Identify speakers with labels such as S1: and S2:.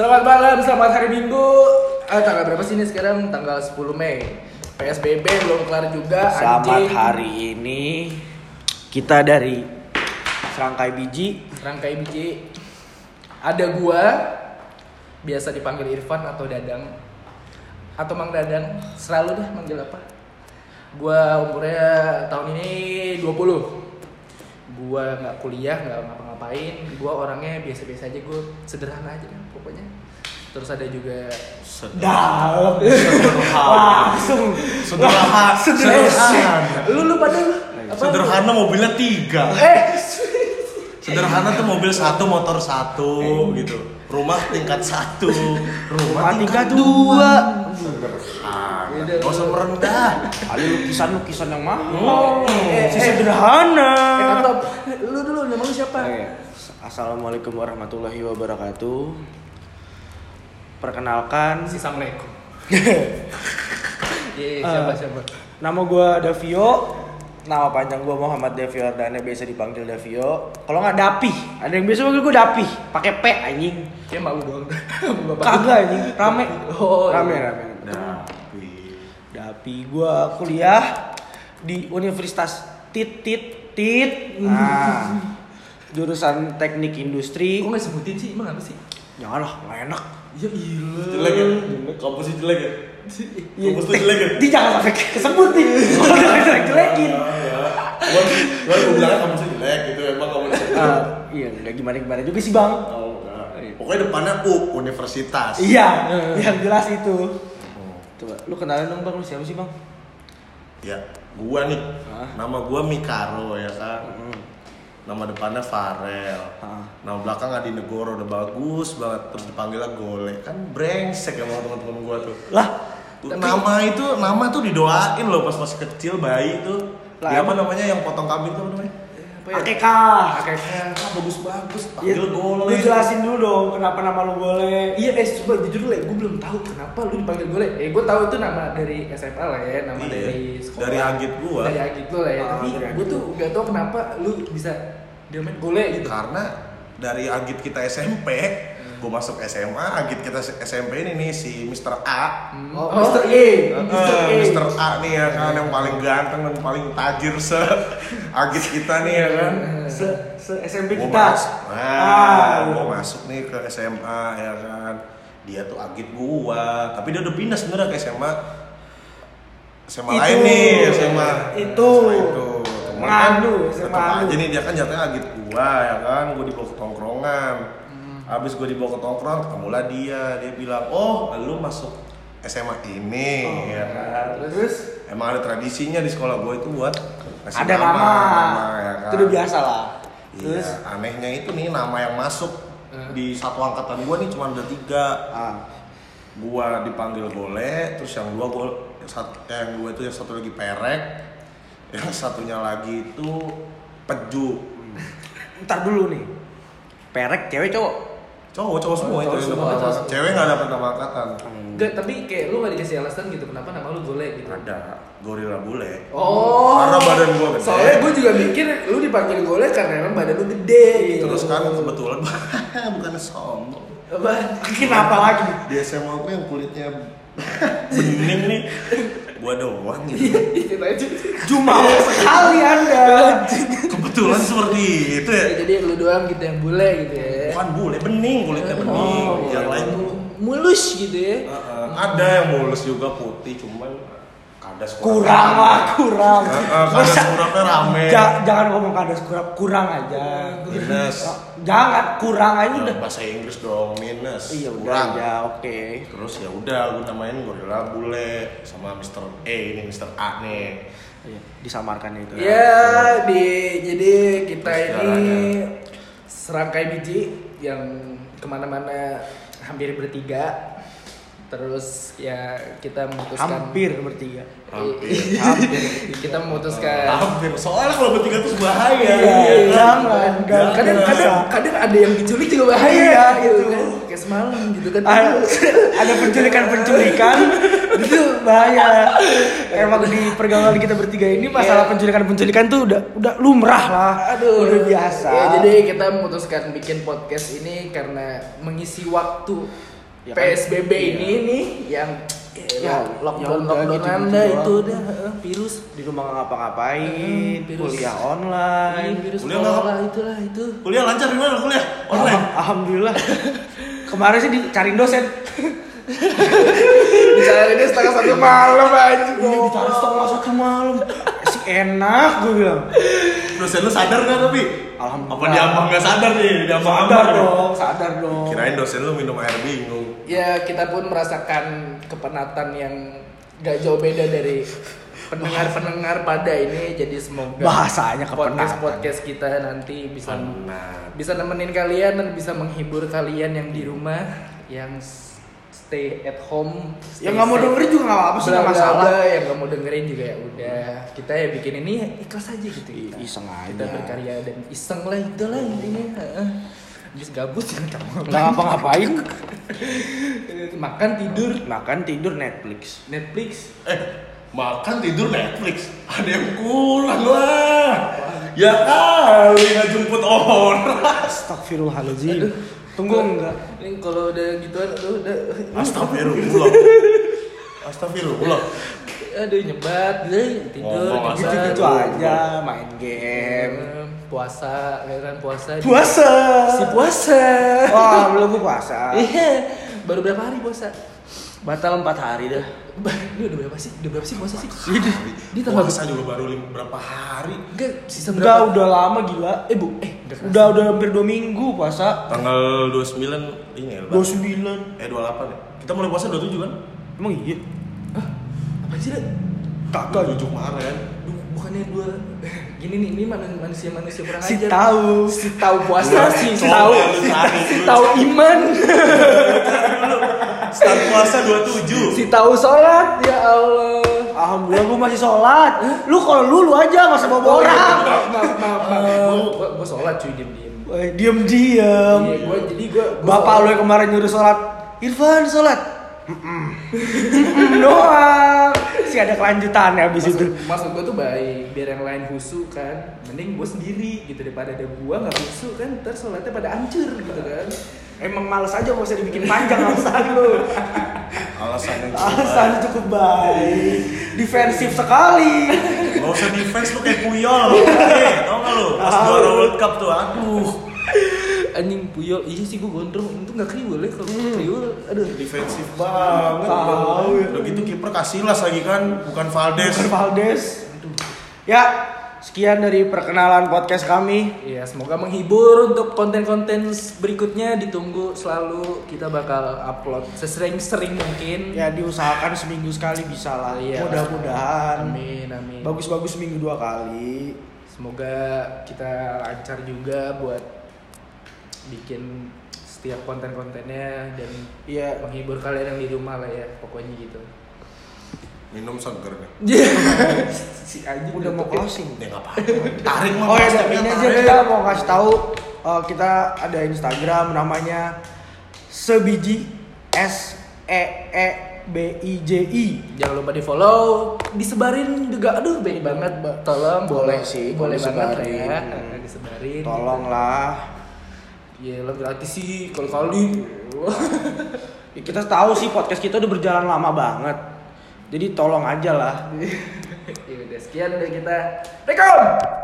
S1: Selamat malam, selamat hari Minggu. Eh, tanggal berapa sih ini sekarang? Tanggal 10 Mei. PSBB belum kelar juga.
S2: Selamat
S1: anjing.
S2: hari ini kita dari Serangkai Biji.
S1: Rangkai biji. Ada gua biasa dipanggil Irfan atau Dadang atau Mang Dadang. Selalu dah manggil apa? Gua umurnya tahun ini 20. Gua nggak kuliah, nggak ngapa-ngapain. Gua orangnya biasa-biasa aja, gua sederhana aja dah pokoknya. Terus ada juga
S2: Dalam langsung
S3: Sederhana.
S1: sederhana. Lu lu pada lu. Apa?
S3: Sederhana mobilnya tiga.
S1: Eh,
S3: Sederhana tuh mobil satu, motor satu, gitu. Rumah tingkat satu,
S2: tiga
S3: rumah
S1: kan
S3: tingkat
S2: dua.
S1: Beda.
S3: Gak usah merendah.
S2: Ada lukisan lukisan yang
S1: Oh,
S2: mahal.
S1: eh,
S2: Si
S1: eh.
S2: sederhana.
S1: Eh, Katop, lu dulu nama lu siapa?
S3: Oh, iya.
S2: Oke. eh, Assalamualaikum warahmatullahi wabarakatuh. Perkenalkan,
S1: Samleko. Iya, siapa
S2: Eh.
S1: siapa?
S2: nama gua Davio. Nama panjang gua Muhammad Davio Ardana biasa dipanggil Davio. Kalau nggak Dapi, ada yang biasa panggil gua Dapi, pakai P anjing.
S1: Ya mbak lu doang. Bapak.
S2: Kagak anjing, rame.
S1: Oh,
S2: rame,
S1: iya.
S2: rame. Dapi gua kuliah di Universitas Tit Tit Tit. Nah, jurusan Teknik
S1: Kok
S2: Industri.
S1: nggak sebutin sih? Emang apa sih?
S2: Jangan lah, nggak enak.
S1: Ya iya.
S3: Jelek ya? Kampusnya jelek ya?
S1: eh,
S3: Kampus lu jelek ya?
S2: Iya, Di jangan sampai kesebutin. Kalau jelek jelekin.
S3: Gua gua gua bilangnya kampusnya jelek gitu, emang kamu jelek.
S2: iya, nggak gimana gimana juga sih bang.
S3: Oh, enggak. Pokoknya depannya U, universitas.
S2: Iya, yang jelas itu. Coba, lu kenalan dong bang, lu siapa sih bang?
S3: Ya, gua nih.
S2: Hah?
S3: Nama gua Mikaro ya kan. Nama depannya Farel.
S2: Hah.
S3: Nama belakang Adi Negoro udah bagus banget terus dipanggilnya Gole. Kan brengsek emang teman-teman gua tuh.
S2: Lah,
S1: Tapi-
S3: nama itu nama tuh didoain loh pas masih kecil bayi tuh.
S2: Lah,
S3: Di apa
S2: emang-
S3: namanya yang potong kambing tuh apa namanya?
S1: Apa ya?
S2: akekah.
S1: Akekah.
S3: Ah, bagus-bagus
S2: Ya,
S3: panggil
S2: lu
S3: Gole.
S2: jelasin dulu dong kenapa nama lu boleh.
S1: Iya, eh coba jujur lah, gue belum tahu kenapa lu dipanggil gole. Eh, gue tahu itu nama dari SMA lah ya, nama
S3: Iya,
S1: dari sekolah.
S3: dari agit gua.
S1: Dari agit lo lah ya.
S2: Ah,
S1: Tapi
S2: dari agit
S1: gue tuh gak tahu kenapa lu bisa diomelin gole gitu.
S3: Karena dari agit kita SMP, gua masuk SMA, agit kita SMP ini nih si Mr. A
S1: Oh, Mr. E.
S3: Eh, Mr. A nih ya kan yang paling ganteng dan paling tajir se agit kita nih ya kan.
S2: se, se SMP
S3: Gua
S2: kita.
S3: masuk,
S2: Ah.
S3: nah, gua masuk nih ke SMA ya kan. Dia tuh agit gua, tapi dia udah pindah sebenarnya ke SMA SMA
S2: Itu.
S3: lain nih, SMA
S2: Itu.
S3: SMA itu. Cuman kan
S2: Nganu, SMA
S3: tetep
S2: nganu.
S3: aja nih dia kan jatuhnya agit gua ya kan, gua dibawa ke tongkrongan.
S2: Hmm.
S3: Habis gua dibawa ke tongkrongan, ketemulah dia, dia bilang, "Oh, lu masuk SMA ini."
S2: Oh.
S3: ya kan.
S1: Terus
S3: Emang ada tradisinya di sekolah gue itu buat ngasih
S2: Ada nama.
S3: ya kan?
S2: Itu udah biasa lah.
S3: Iya,
S2: Terus Hmm.
S3: anehnya itu nih nama yang masuk
S1: Eh.
S3: di satu angkatan gue nih cuma ada tiga.
S2: ah,
S3: Gua dipanggil boleh, terus yang dua gue satu yang dua itu yang satu lagi perek, yang satunya lagi itu peju.
S2: ntar dulu nih. Perek cewek cowok.
S3: Cowok cowok semua
S1: Oh,
S3: itu
S1: cowok
S3: yang
S1: semua,
S3: dapat nama
S1: cowok
S3: angkatan.
S1: semua.
S3: Cewek nggak dapat nama angkatan.
S1: Enggak, tapi kayak lu gak dikasih alasan gitu kenapa nama lu gole gitu.
S3: Ada gorila bule.
S1: Oh.
S3: Karena badan gua gede.
S1: Soalnya gue juga mikir lu dipanggil gole karena emang badan lu gede
S2: Iya.
S1: gitu.
S3: Terus kan kebetulan bukan sombong.
S1: apa?
S2: Kenapa lagi?
S3: di SMA aku yang kulitnya bening nih gua doang gitu
S2: Iya.
S1: Gitu aja.
S2: Jumawa sekali Anda.
S3: kebetulan seperti itu ya
S1: Ya, jadi lu doang gitu yang bule gitu ya.
S3: bukan bule bening kulitnya
S2: Oh,
S3: bening
S2: iya.
S3: yang lain tuh
S1: Oh, mulus gitu ya.
S3: eh, eh, ada yang mulus juga putih cuman kadas
S2: Kurang lah, kurang.
S3: Eh, eh, kadas
S2: Masa-
S3: kurangnya rame
S2: Ja- jangan ngomong kadas kurang, kurang aja.
S3: minus
S2: Jangan kurang aja
S3: Ya,
S2: udah.
S3: bahasa Inggris dong minus
S2: Iya udah
S3: kurang
S2: aja, oke.
S3: terus ya udah gua namain gorila bule sama Mr. A ini Mr. A nih
S2: Iya, disamarkan itu.
S1: Ya, di jadi kita
S3: Terus ya.
S1: ini
S3: jalannya.
S1: serangkai biji yang kemana-mana hampir bertiga. Terus ya kita memutuskan
S2: Hampir bertiga.
S3: hampir
S1: kita memutuskan
S3: hampir soalnya kalau bertiga terus bahaya
S2: Iya,
S3: kan?
S2: jangan, jangan.
S1: kadang kadang kadang ada yang diculik juga
S2: Iya,
S1: bahaya gitu
S2: itu. Ah,
S1: kan kayak semalam gitu kan
S2: ada ada penculikan-penculikan itu bahaya emang di pergaulan kita bertiga ini
S1: Iya.
S2: masalah penculikan-penculikan tuh udah udah lumrah lah
S1: aduh
S2: udah biasa
S1: Iya, ya, jadi kita memutuskan bikin podcast ini karena mengisi waktu
S2: Ya kan?
S1: PSBB
S2: Iya.
S1: ini nih yang
S2: Ya,
S1: ya, lockdown
S2: ya udah,
S1: lockdown
S2: gitu-gitu
S1: anda
S2: doang.
S1: itu udah eh, virus
S2: di rumah nggak ngapa-ngapain,
S1: Hmm, virus.
S2: kuliah online.
S1: ini virus
S3: Kuliah nggak-
S1: corona itulah itu
S3: Kuliah lancar gimana kuliah? Online.
S2: Alham- Alhamdulillah. Kemarin sih dicariin dosen.
S1: bicara ini setengah satu malam aja
S2: Ini dicari setengah satu malam. Si enak gue bilang.
S3: Dosen lu sadar nggak tapi?
S2: Alhamdulillah.
S3: Apa dia abang nggak sadar nih? Dia abang
S2: Sadar dong, sadar dong.
S3: Kirain dosen lu minum air bingung.
S1: ya kita pun merasakan kepenatan yang gak jauh beda dari pendengar-pendengar pada ini jadi semoga
S2: Bahasanya
S1: podcast
S2: kepenatan.
S1: podcast kita nanti bisa
S3: Penat.
S1: bisa nemenin kalian dan bisa menghibur kalian yang di rumah yang s- stay at home
S2: Yang nggak mau dengerin juga nggak apa-apa sih, nggak masalah.
S1: masalah yang nggak mau dengerin juga ya udah kita ya bikin ini ikhlas aja gitu kita.
S2: Iseng
S1: kita
S2: aja.
S1: berkarya dan iseng lah itulah intinya heeh. habis gabut ya yang kamu
S2: Nggak ngapa-ngapain.
S1: makan tidur
S2: Makan tidur Netflix.
S1: Netflix
S3: Eh, makan tidur Netflix. Ada yang kurang lah. Ya kali nggak jemput orang.
S2: Astagfirullahaladzim. Tunggu enggak.
S1: ini kalau udah gituan aduh udah
S3: Astagfirullah. Astagfirullah.
S1: aduh nyebat deh, tidur
S3: Ngomong asal.
S1: nyebat.
S2: Gitu-gitu aja main game.
S1: Em, puasa ya kan puasa
S2: Puasa.
S1: si puasa
S2: Wah, belum gue puasa.
S1: iya baru berapa hari puasa
S2: Batal 4 hari dah.
S1: ini udah berapa sih udah berapa sih puasa sih
S3: Di
S1: Di tanggal-
S3: puasa juga baru lim- berapa hari?
S1: enggak sisa berapa
S2: Udah udah lama gila.
S1: eh bu eh nggak kerasa.
S2: Udah udah hampir 2 minggu puasa.
S3: Tanggal 29 ini ya. Lebaran.
S2: 29.
S3: Eh 28 ya. Kita mulai puasa 27 kan?
S2: Emang iya?
S1: apa sih Dek?
S2: Kagak.
S3: 27 kemarin.
S1: Duh, bukannya dua gini nih ini manusia manusia kurang
S2: Si
S1: ajar
S2: tahu.
S1: si tahu puasa
S3: Dua
S1: si
S3: cowok,
S1: tahu
S3: lu cari
S1: si
S3: dulu.
S1: tahu iman
S3: Start puasa 27.
S1: si tahu sholat ya allah
S2: Alhamdulillah gue masih sholat. Lu kalau lu lu aja nggak sama
S1: Oh, iya,
S2: orang.
S1: maaf maaf maaf, maaf. Gua- gua gua sholat cuy diem diem
S2: Eh, diem diem.
S1: Iya, gua jadi gua gua
S2: Um, Bapak
S1: sholat.
S2: lu yang kemarin nyuruh sholat. Irfan sholat. Mm-mm. Mm-mm doang. Si ada kelanjutannya abis itu.
S1: maksud, maksud gue tuh baik biar yang lain husu kan mending gue sendiri gitu daripada ada gue nggak husu kan ntar sholatnya pada hancur gitu kan
S2: Emang males aja gak usah dibikin panjang alasan lu.
S3: Alasan yang
S2: Alasan cukup baik. Defensif sekali.
S3: Gak usah defense lu kayak puyol. Eh, tau gak lu? Pas
S2: Tahu.
S3: juara World Cup tuh, aduh.
S1: anjing puyol iya sih gue gondrong itu nggak kriwel ya kalau kriwel aduh
S3: Defensif banget.
S2: Tahu ya.
S3: Udah gitu kiper Casillas lagi kan, bukan Valdes.
S2: Dr. Valdes. Ya, sekian dari perkenalan podcast kami.
S1: Iya, semoga menghibur untuk konten-konten berikutnya ditunggu selalu kita bakal upload sesering-sering mungkin.
S2: Ya diusahakan seminggu sekali bisa lah.
S1: Iya.
S2: Mudah-mudahan
S1: Amin, amin.
S2: bagus-bagus seminggu dua kali.
S1: Semoga kita lancar juga buat bikin setiap konten-kontennya dan
S2: Iya.
S1: menghibur kalian yang di rumah lah ya, pokoknya gitu.
S3: Minum seger kan? nih.
S2: Iya.
S1: si anjing
S2: Udah mau
S1: nutupin.
S2: closing.
S3: Ya nggak apa-apa. Tarik mah.
S2: Oh ya,
S3: Mas,
S2: dan ini aja
S3: tarik.
S2: kita mau kasih tahu eh, kita ada Instagram namanya sebiji s e e b i j i.
S1: Jangan lupa di follow, disebarin juga. Aduh, beda banget. Tolong,
S2: Nah, Boleh sih,
S1: boleh banget
S2: disebarin. Iya,
S1: ya. Disebarin.
S2: Tolonglah.
S1: Ya lo gratis sih kali kali.
S2: Ya, kita tahu sih podcast kita udah berjalan lama banget. Jadi tolong aja lah.
S1: Iya, ya udah sekian dari kita. Rekom.